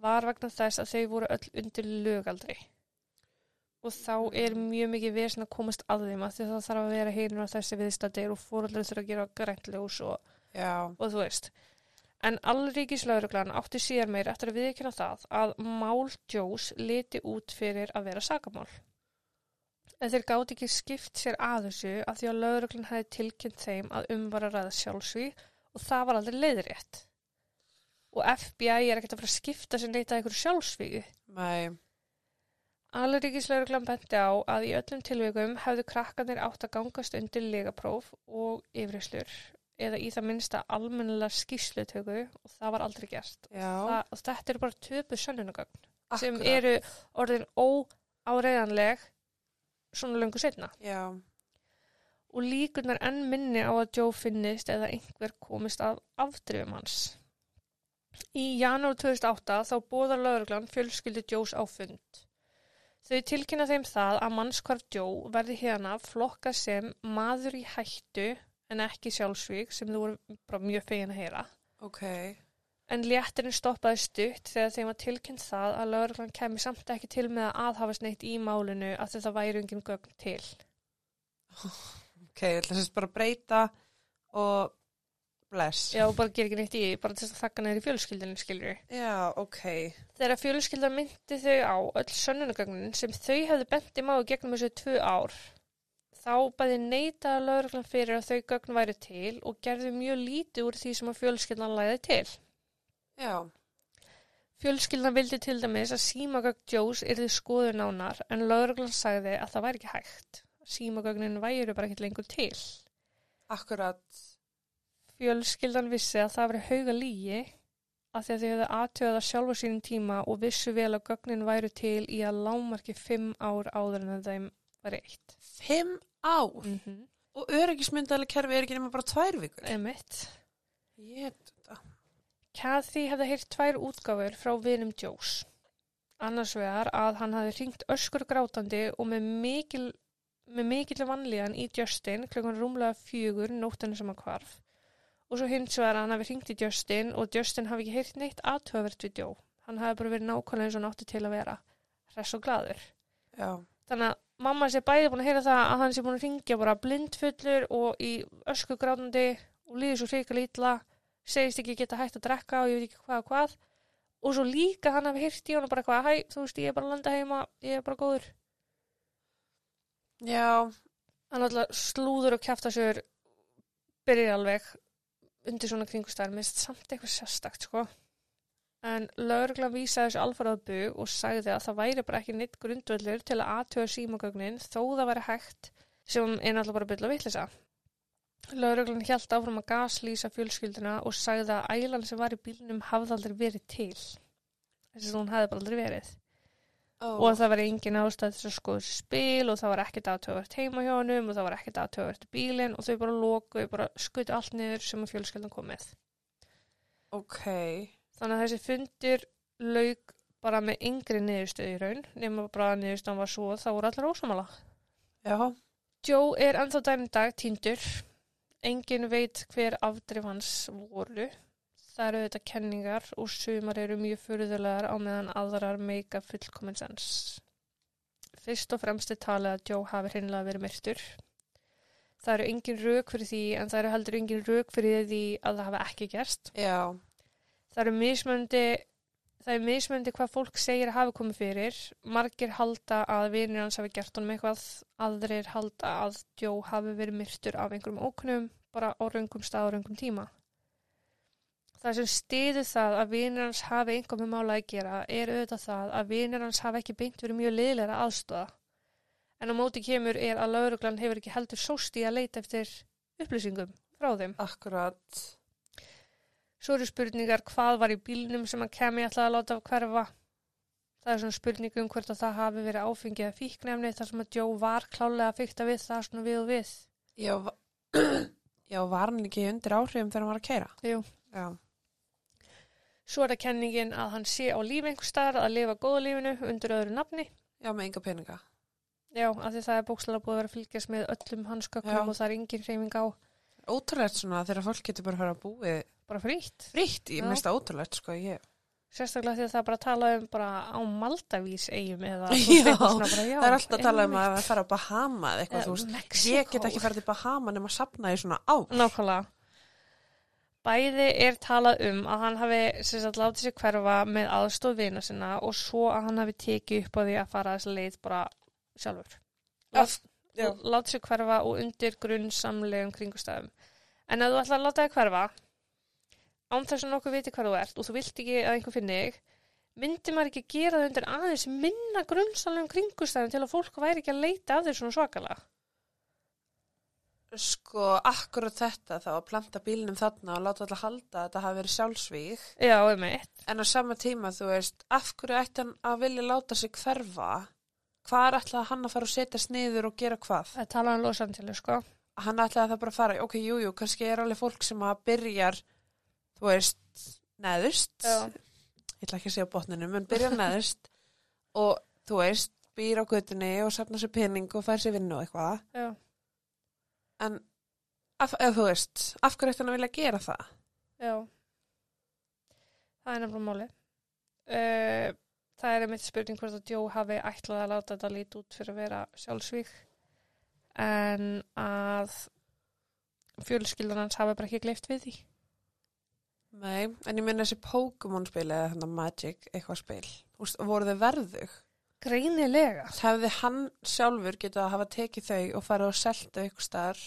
Speaker 1: var vegna þess að þau voru öll undir lögaldri. Og þá er mjög mikið vesinn að komast að þeim að því að það þarf að vera hinum á þessi viðstættir og fóröldar þurfa að gera grænt ljós og
Speaker 2: já,
Speaker 1: og þú veist. En allríkislauruglan átti síðar meir eftir að viðkynna það að mál Jós liti út fyrir að vera sakamál. En þeir gáti ekki skipt sér að þessu að því að lauruglan hefði tilkynnt þeim að um var að ræða sjálfsví og það var aldrei leiðrétt. Og FBI er ekkert að fara að skipta sér neitt að einhverju sjálfsvíu.
Speaker 2: nei,
Speaker 1: Allaríkislauruglan benti á að í öllum tilvikum hefðu krakkanir átt að gangast undir legapróf og yfirhyslur eða í það minnsta almennilega skýslutöku og það var aldrei gert.
Speaker 2: já,
Speaker 1: Það, og þetta eru bara töpu sönnunagögn sem
Speaker 2: akkurat.
Speaker 1: eru orðin óáreðanleg svona löngu setna
Speaker 2: Já,
Speaker 1: og líkurnar enn minni á að Joe finnist eða einhver komist að afdrifum hans. Í janúar 2008 þá bóðar lögreglan fjölskyldi Joes á fund. Þau tilkynna þeim það að mannskvarf Joe verði hérna flokka sem maður í hættu en ekki sjálfsvík sem þú voru bara mjög fegin að heyra
Speaker 2: ok,
Speaker 1: en léttirinn stoppaði stutt þegar þeim var tilkynnt það að lögreglan kemi samt ekki til með að aðhafast neitt í málinu af því það væri engin gögn til.
Speaker 2: Ok, ég ætla þess bara að breyta og bless.
Speaker 1: Já, og bara gera ekki neitt í, því, bara til þess að þakka neður í fjölskyldinu, skilur við.
Speaker 2: Já, ok.
Speaker 1: Þegar fjölskyldan myndi þau á öll sönnunagögnin sem þau hefðu bent í máu gegnum þessu tvö ár, þá bæði neitaði lögreglan fyrir að þau gögn væri til og gerðu mjög lítið úr því sem að fjölskyldan læði til.
Speaker 2: Já,
Speaker 1: Fjölskyldan vildi til dæmis að símagögn Joes yrði skoðu nánar en lögreglan sagði að það væri ekki hægt. Símagögnin væru bara ekkert lengur til.
Speaker 2: akkurat.
Speaker 1: Fjölskyldan vissi að það væri hauga lígi af því að þau hefðu aðtöðað sjálfa sínum tíma og vissu vel að gögnin væru til í að lámarki fimm ár áður en að þeim væri eitt.
Speaker 2: Fimm ár.
Speaker 1: Mm
Speaker 2: Og öryggismyndalega kerfi er ekki nema bara tvær vikur.
Speaker 1: Emitt.
Speaker 2: Ég, þetta.
Speaker 1: Kathy hefði heyrt tvær útgáfur frá vinum Joes. Annars vegar að hann hafði ringt öskur grátandi og með mikil, með mikil vanlíðan í Justin klukkan rúmlega fjögur nóttinu sem hann hvarf. Og svo hins vegar að hann hafi ringt í Justin og Justin hafi ekki heyrt neitt aðtöfvert við Joe. Hann hafi bara verið nákvæmlega eins og nátti til að vera. Hress og glaður.
Speaker 2: Já,
Speaker 1: Þannig að mamma sé bæði búin að heyra það að hann sé búin að ringja bara blindfullur og í ösku grátandi og líður svo hreika lítla, segist ekki geta hægt að drekka og ég veit ekki hvað og hvað. Og svo líka hann hafi heyrt í hann bara hvað, hæ, þú veist, ég er bara að landa heima, ég er bara góður.
Speaker 2: já,
Speaker 1: Hann alltaf slúður og kæfta sér, byrjir alveg undir svona kringustæðar, minnst samt eitthvað sérstakt, sko. En lögreglan vísaði þessu alfarað bug og sagði að það væri bara ekki neitt grundvöllur til að aðtöða símagögnin þó það væri hægt sem er náttúrulega bara byrla vitlisa. Lögreglan hjælt áfram að gaslýsa fjölskylduna og sagði að ælan sem var í bílnum hafði aldrei verið til. Þess að hún hafði bara aldrei verið.
Speaker 2: ó,
Speaker 1: Og það var engin ástæð til að skoða spil og það var ekkert aðtöðvert heima hjá honum og það var ekkert aðtöðvert bílinn og þau bara lokuðu, bara skutt allt niður sem að fjölskyldan kom með.
Speaker 2: ok.
Speaker 1: Þannig að þessi fundur lauk bara með yngri niðurstöðu í raun, nema bara niðurstöðan var svo að það voru allir ósamála.
Speaker 2: Já,
Speaker 1: Joe er ennþá dæmi dag týndur. Engin veit hver afdrif hans voru. Það eru þetta kenningar og sumar eru mjög furðulegar á meðan aðrar meika fullkomins sens. Fyrst og fremst er talið að Joe hafi hreinlega verið myrtur. Það eru engin rauk fyrir því en það eru heldur engin rauk fyrir því að það hafi ekki gerst.
Speaker 2: já,
Speaker 1: Það eru mismöndi það er mismöndi hvað fólk segir að hafi komið fyrir. Margir halda að vinir hans hafi gert honum eitthvað aðrir halda að Joe hafi verið myrtur af einhverjum ókunum bara á röngum stað og röngum tíma. Það sem stiði það að vinir hans hafi einhver með mála að gera er auðvitað það að vinir hans hafi ekki beint verið mjög liðlega aðstóða. En á móti kemur er að lauruglan hefur ekki heldur sóst í að leita eftir upplýsingum frá þeim.
Speaker 2: akkurat.
Speaker 1: Svo eru spurningar hvað var í bílnum sem að kemi alltaf að láta hverfa. Það er svona spurning um hvort að það hafi verið áfengið að fíknefni þar sem að Joe var klálega að fíkta við það svona við og við.
Speaker 2: Já, va- já, var hann ekki undir áhrifum þegar hann var að keira?
Speaker 1: Jú.
Speaker 2: Já,
Speaker 1: Svo er það kenningin að hann sé á lífi einhver staðar að lifa góða lífinu undir öðru nafni.
Speaker 2: já, með enga peninga.
Speaker 1: Já, af því það er bókslega búið að vera að fylgjast með öllum hans
Speaker 2: Já.
Speaker 1: gögnum og það er engin reyfing á
Speaker 2: Ótrúlegt svona þegar fólk getur bara að fara að búið
Speaker 1: bara frýtt.
Speaker 2: fritt, ég
Speaker 1: Já.
Speaker 2: minnst það ótrúlegt sko, ég
Speaker 1: Sérstaklega því að það er bara að tala um bara á Maldavís eigum eða þú
Speaker 2: Já,
Speaker 1: veist, eitthvað svona bara, já,
Speaker 2: Það er alltaf að tala um
Speaker 1: einmitt.
Speaker 2: að það fara á Bahama eða eitthvað,
Speaker 1: Eða
Speaker 2: þú veist.
Speaker 1: Mexíkó.
Speaker 2: Ég get ekki farið til Bahama nema að sapna í svona á.
Speaker 1: Nákvæmlega. Bæði er talað um að hann hafi sem sagt látið sér hverfa með aðstof vina sinna og svo að hann hafi tekið upp á því að fara þess leið bara sjálfur.
Speaker 2: Af- já.
Speaker 1: Látið sér hverfa og undir grunnsamlegum kringustæðum. En ef þú ætlar að láta þér hverfa, án þess að nokkuð viti hvar þú ert og þú vilt ekki að einhver finni þig, myndi maður ekki gera það undir aðeins minna grunnsamlegum kringustæðum til að fólk væri ekki að leita af þér svona svakalega.
Speaker 2: Sko, akkurat þetta þá að planta bílnum þarna og láta alltaf halda að þetta hafi verið sjálfsvíg.
Speaker 1: Já, einmitt.
Speaker 2: En á sama tíma, þú veist, af hverju ætti hann að vilja láta sig hverfa? Hvað er alltaf hann að fara og setjast niður og gera hvað?
Speaker 1: Það talaði um Los Angeles, sko.
Speaker 2: Hann ætlaði það bara að fara, ok, jú, jú, kannski er alveg fólk sem að byrjar, þú veist, neðust. ég ætla ekki að segja á botninum, en byrja neðst og þú veist, býr á götunni og safna sér pening og fær sér vinnu og eitthvað.
Speaker 1: Já.
Speaker 2: En af, ef þú veist, af hverju ætti hann að vilja gera það?
Speaker 1: Já. Það er nefnilega máli. Uh, það er einmitt spurning hvort að Joe hafi ætlað að láta þetta lít út fyrir að vera sjálfsvík en að fjölskyldan hans hafi bara ekki gleift við því.
Speaker 2: Nei, en ég minna þessi Pokémon spil eða þannig Magic eitthvað spil. Úst, voru þau verðug?
Speaker 1: Greinilega.
Speaker 2: Hefði hann sjálfur getað að hafa tekið þau og farið og selta þau eitthvað staðar?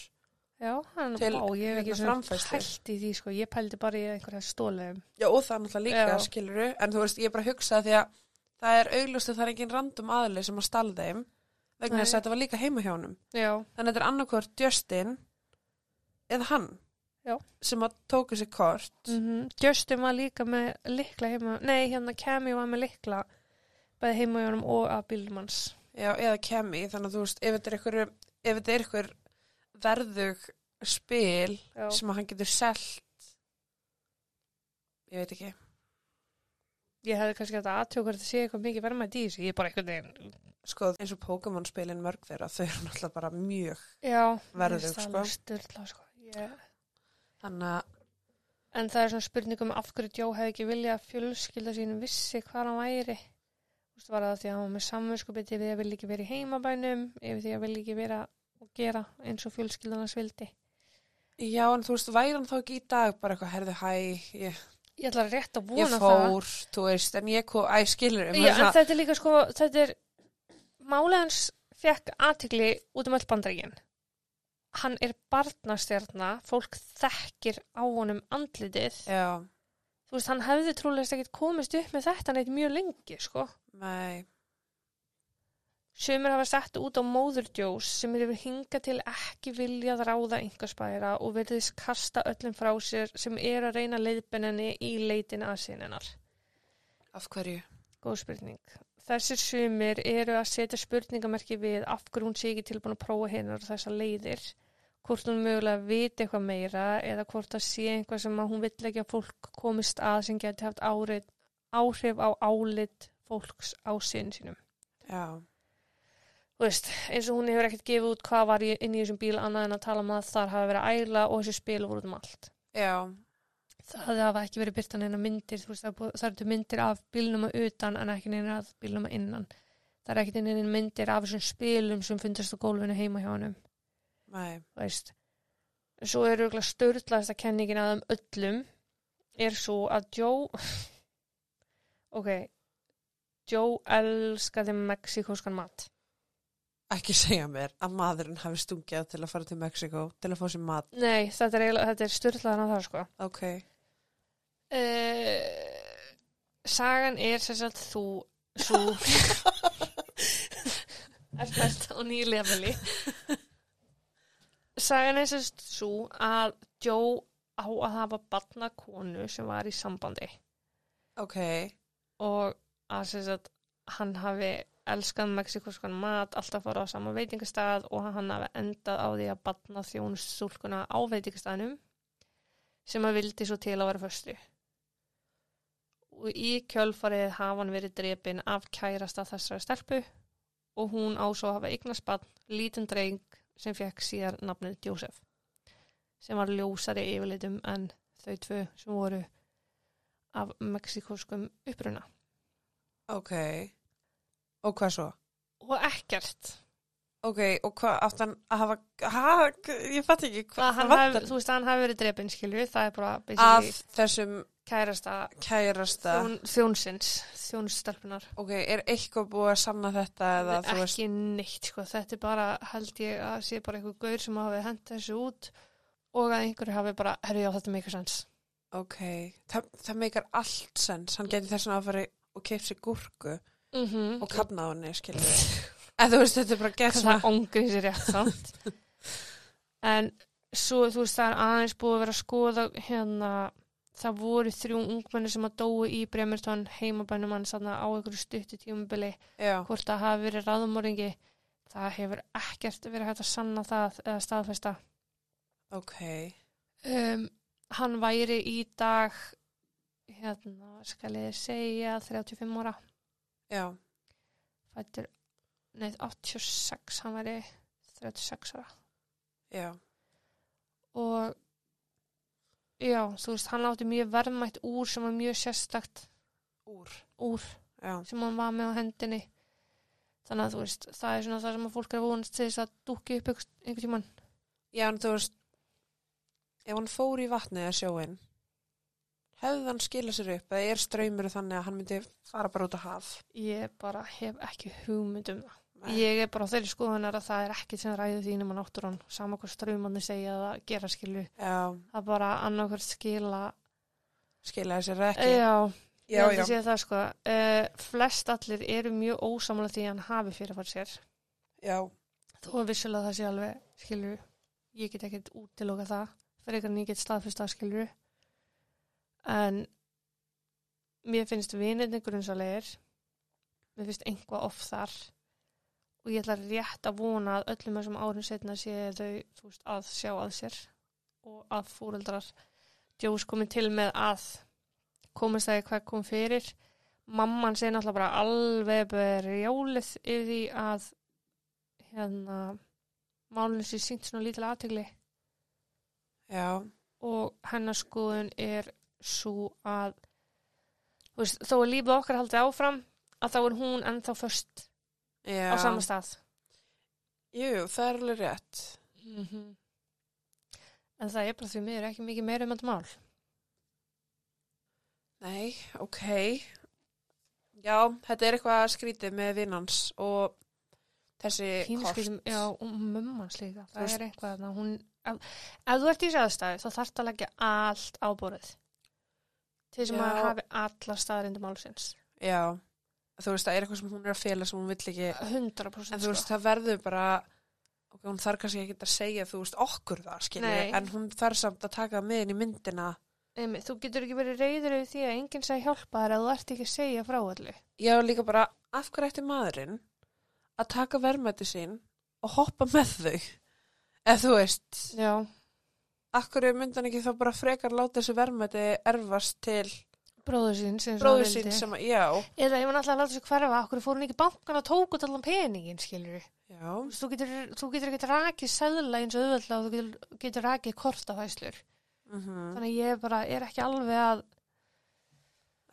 Speaker 1: Já, hann
Speaker 2: Til
Speaker 1: á, ég hef ekki
Speaker 2: hérna
Speaker 1: svona
Speaker 2: framfærslu.
Speaker 1: pælt í því sko, ég pældi bara í um. einhverja stóluðum.
Speaker 2: Já, og það er náttúrulega líka,
Speaker 1: Já.
Speaker 2: skiluru, en þú veist, ég er bara að hugsa því að það er auglust að það er engin random aðli sem að stala þeim vegna
Speaker 1: Nei.
Speaker 2: þess að þetta var líka heima hjá honum.
Speaker 1: Já,
Speaker 2: Þannig að þetta er annarkvort Justin eða hann
Speaker 1: Já.
Speaker 2: sem að tóku sér kort.
Speaker 1: mm Justin var líka með likla heima, nei hérna Cammy var með likla bæði heima hjá honum og að bílum hans.
Speaker 2: Já, eða kemi, þannig að þú veist, ef þetta er ykkur, ef þetta er ykkur verðug spil
Speaker 1: Já.
Speaker 2: sem að hann getur selt, ég veit ekki.
Speaker 1: Ég hefði kannski hægt að aðtjóka hvort það sé eitthvað mikið verðmætt í þessu, ég er bara einhvern veginn
Speaker 2: Sko, eins og Pokémon spilin mörg þeirra, þau eru náttúrulega bara mjög.
Speaker 1: Já,
Speaker 2: Verðug,
Speaker 1: mér finnst það
Speaker 2: sko.
Speaker 1: alveg Sturla, sko. Ég...
Speaker 2: Þannig að,
Speaker 1: En það er svona spurningum af hverju Jó hefði ekki viljað að fjölskylda sín vissi hvað hann væri. Þú veist, var það því að hann var með samvinskupið yfir því að vilja ekki vera í heimabænum, yfir því að vilja ekki vera og gera eins og fjölskyldan hans vildi.
Speaker 2: já, en þú veist, væri hann þá ekki í dag bara eitthvað, herðu, hæ, ég,
Speaker 1: Ég ætla rétt að
Speaker 2: ég
Speaker 1: vona það.
Speaker 2: fór, þú veist, en ég kom, æ, skilur,
Speaker 1: Já, en þetta er líka sko, þetta er, málið hans fekk aðtikli út um öll bandaríkin. Hann er barnastjarna, fólk þekkir á honum andlitið.
Speaker 2: já,
Speaker 1: þú veist, hann hefði trúlega ekkert komist upp með þetta neitt mjög lengi, sko.
Speaker 2: nei,
Speaker 1: Sumir hafa sett út á móðurdjós sem hefur hingað til ekki viljað ráða einhverspæra og verðist kasta öllum frá sér sem er að reyna leiðbennenni í leitin að sinnenar.
Speaker 2: af hverju,
Speaker 1: Góð spurning. Þessir sumir eru að setja spurningamerki við af hverju hún sé ekki tilbúin að prófa hennar þessar leiðir, hvort hún mögulega viti eitthvað meira eða hvort það sé eitthvað sem að hún vill ekki að fólk komist að sem geti haft árið, áhrif á álit fólks á sinn sínum.
Speaker 2: já,
Speaker 1: Þú veist, eins og hún hefur ekkert gefið út hvað var í- inn í þessum bíl annað en að tala um að þar hafa verið að æla og þessi spil voru út um allt.
Speaker 2: já,
Speaker 1: Það hafa ekki verið byrta neina myndir, þú veist, það er búið- það eru til myndir af bílnum að utan en ekki neina af bílnum að innan. Það er ekkert neina myndir af þessum spilum sem fundast á gólfinu heima hjá honum,
Speaker 2: nei,
Speaker 1: þú veist. Svo eru auðvitað störðlaðasta kenningin að um öllum er svo að Joe, ok, Joe elskaði mexikóskan mat.
Speaker 2: ekki segja mér að maðurinn hafi stungjað til að fara til Mexiko til að fá sér mat,
Speaker 1: Nei, þetta er, eiginlega- þetta er störðlaðan að það, sko.
Speaker 2: ok,
Speaker 1: Uh, sagan er sem sagt þú svo er mest á nýju leveli sagan er sem sagt svo að Joe á að hafa batna konu sem var í sambandi
Speaker 2: ok,
Speaker 1: og að sem sagt hann hafi elskað mexikoskan mat alltaf fara á sama veitingastað og hann hafi endað á því að batna þjónustúlkuna á veitingastaðnum sem hann vildi svo til að vera föstu og í kjölfarið hafa hann verið drepin af kærasta þessari stelpu og hún á svo að hafa eignast barn, lítinn dreng sem fekk síðar nafnið Jósef sem var ljósari yfirlitum en þau tvö sem voru af mexikoskum uppruna
Speaker 2: ok, og hvað svo?
Speaker 1: og ekkert
Speaker 2: Ok, og hvað átt hann að hafa, ha, ég fatt ekki
Speaker 1: að
Speaker 2: hvað
Speaker 1: hann
Speaker 2: vantar?
Speaker 1: hafi, þú veist að hann hafi verið drepinn skilju það er bara
Speaker 2: af
Speaker 1: basically
Speaker 2: þessum
Speaker 1: kærasta
Speaker 2: kærasta,
Speaker 1: þjón, þjónsins, þjónstelpunar
Speaker 2: ok, er eitthvað búið að sanna þetta eða þú
Speaker 1: ekki
Speaker 2: veist,
Speaker 1: neitt sko, þetta er bara held ég að sé bara einhver gaur sem hafi hent þessu út og að einhverju hafi bara, herri já þetta meikar sens
Speaker 2: ok, það, það meikar allt sens, hann getur þess að fara í- og keip sér gúrku
Speaker 1: mm -hmm.
Speaker 2: og kanna á henni, skilur við. En þú veist, þetta Mhm. er bara gett svona,
Speaker 1: það ongriðs er rétt samt en svo þú veist það er aðeins búið að vera að skoða hérna það voru þrjú ungmenni sem að dói í Bremerton heimabænum hans þarna á einhverju stuttu tímubili
Speaker 2: já,
Speaker 1: hvort það hafi verið ráðumorðingi það hefur ekkert verið hægt að sanna það eða staðfesta
Speaker 2: ok,
Speaker 1: um, hann væri í dag hérna skal ég segja 35 ára
Speaker 2: já,
Speaker 1: fættur, nei 86 hann væri 36 ára
Speaker 2: já,
Speaker 1: og já, þú veist, hann átti mjög verðmætt úr sem var mjög sérstakt
Speaker 2: úr
Speaker 1: úr
Speaker 2: já,
Speaker 1: sem hann var með á hendinni þannig að þú veist, það er svona það sem að fólk er að vonast til þess að dúkki upp einhvers- einhvern tímann
Speaker 2: já en þú veist ef hann fór í vatnið eða sjóin hefði hann skilað sér upp eða er ströymur þannig að hann myndi fara bara út á haf
Speaker 1: ég bara hef ekki hugmynd um það ég er bara á þeirri skoðunar að það er ekki sem ræði því nema náttúran sama hvað strömmanni segja að gera skilu
Speaker 2: já,
Speaker 1: að bara annarkvært skila
Speaker 2: skilaði sér ekki
Speaker 1: já,
Speaker 2: já,
Speaker 1: ég held
Speaker 2: já,
Speaker 1: að sé það sko uh, flest allir eru mjög ósamlega því að hann hafi fyrirfært sér
Speaker 2: já,
Speaker 1: þó að vissulega það sé alveg skilur, ég get ekkert útiloka það frekar en ég get staðfyrst að skilur en mér finnst vinirni grunnsalegir mér finnst einhvað off þar og ég ætla rétt að vona að öllum þessum árum setna sé þau þú veist, að sjá að sér og að fúreldrar djós komin til með að komast það í hvað kom fyrir mamman segir náttúrulega bara alveg berjólið yfir því að hérna málinu sé sínt svona lítilega aðtegli
Speaker 2: já,
Speaker 1: og hennar skoðun er svo að þú veist, þó að lífið okkar haldi áfram að þá er hún ennþá först
Speaker 2: já.
Speaker 1: á sama stað
Speaker 2: jú, jú, það er alveg rétt
Speaker 1: en það er bara því miður ekki mikið meira um þetta mál
Speaker 2: Nei, ok. Já, þetta er eitthvað skrítið með vinnans og þessi Eh, kort.
Speaker 1: Pínuskýtum, já, og mömmans líka
Speaker 2: Þú
Speaker 1: það
Speaker 2: veist-
Speaker 1: er eitthvað þarna, hún, ef, ef þú ert í þessu aðstæðu þá þarf að leggja allt á borðið til þess að
Speaker 2: Já.
Speaker 1: maður hafi alla staðarindu málsins
Speaker 2: Já, þú veist, það er eitthvað sem hún er að fela sem hún vill ekki.
Speaker 1: 100%
Speaker 2: Eh, En þú veist, það verður bara, ok, hún þarf kannski ekki að segja, þú veist, okkur það, skilur.
Speaker 1: Nei.
Speaker 2: En hún þarf samt að taka það með inn í myndina.
Speaker 1: Einmitt, þú getur ekki verið reyður yfir því að enginn sæði hjálpa þér að þú ert ekki að segja frá öllu.
Speaker 2: Já, líka bara, af hverju ætti maðurinn að taka verðmætti sín og hoppa með þau? Ef þú veist,
Speaker 1: Já,
Speaker 2: af hverju myndi hann ekki þá bara frekar láta þessu verðmætti erfast til
Speaker 1: bróður sín sem
Speaker 2: bróður sín sem að, já,
Speaker 1: Eða ég var náttúrulega að láta sér hverfa, okkur fór hún ekki í bankann og tók út allan peningin, skilur við.
Speaker 2: já,
Speaker 1: Þú getur, þú getur ekki rakið seðla eins og auðvöldlega og þú getur, getur rakið kortafæslur.
Speaker 2: mhm.
Speaker 1: Þannig að ég bara er ekki alveg að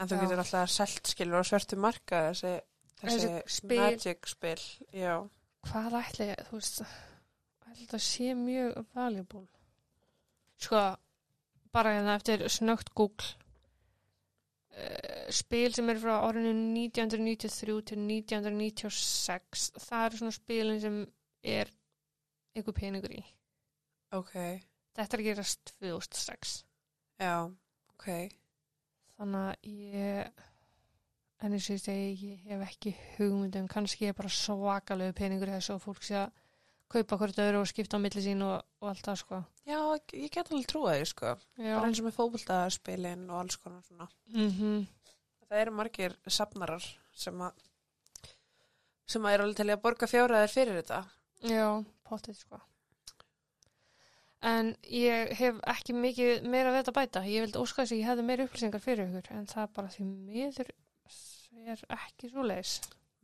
Speaker 2: En þú
Speaker 1: Já.
Speaker 2: getur alltaf selt skilur á svörtu marka þessi, þessi
Speaker 1: Þessi spil.
Speaker 2: magic spil. Já,
Speaker 1: hvað ætla ég, þú veist, ég held að þetta sé mjög valuable. Sko, bara hérna eftir snögt Google, uh, spil sem er frá árinu 1993 til 1996, það eru svona spilin sem er einhver peningur í.
Speaker 2: ok,
Speaker 1: Þetta er að gerast 2006.
Speaker 2: já, ok.
Speaker 1: Þannig að ég, en eins og ég segi, ég hef ekki hugmyndum, kannski ég er bara svakalegu peningur í þessu og fólk sé að kaupa hvort öðru og skipta á milli sín og, og allt það, sko.
Speaker 2: Já, ég get alveg trúið því sko.
Speaker 1: Já.
Speaker 2: Bara eins og með fótboltaspilin og alls konar svona.
Speaker 1: Mm -hmm.
Speaker 2: Það eru margir safnarar sem að sem að er alveg til í að borga fjáraðir fyrir þetta.
Speaker 1: Já, pottið, sko. En ég hef ekki mikið meira við þetta að bæta. Ég vildi óska þess að ég hefði meira upplýsingar fyrir ykkur, en það bara því miður er ekki svo leis.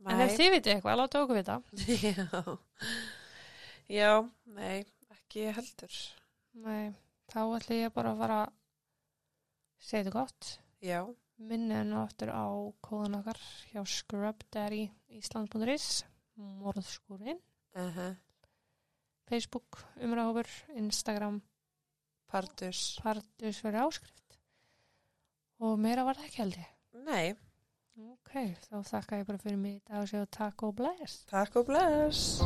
Speaker 1: En ef þið vitið eitthvað, láta okkur vita.
Speaker 2: Já, já, nei, ekki heldur.
Speaker 1: Nei, þá ætla ég bara að fara að segja þetta gott.
Speaker 2: Já,
Speaker 1: minni enn og aftur á kóðan okkar hjá scrubdaddy ísland.is morðskúrin,
Speaker 2: uh
Speaker 1: Facebook umræðhópur, Instagram
Speaker 2: partus.
Speaker 1: partus fyrir áskrift og meira var það ekki held ég
Speaker 2: Nei,
Speaker 1: ok, þá þakka ég bara fyrir mig í dag og séu takk og bless
Speaker 2: takk og bless.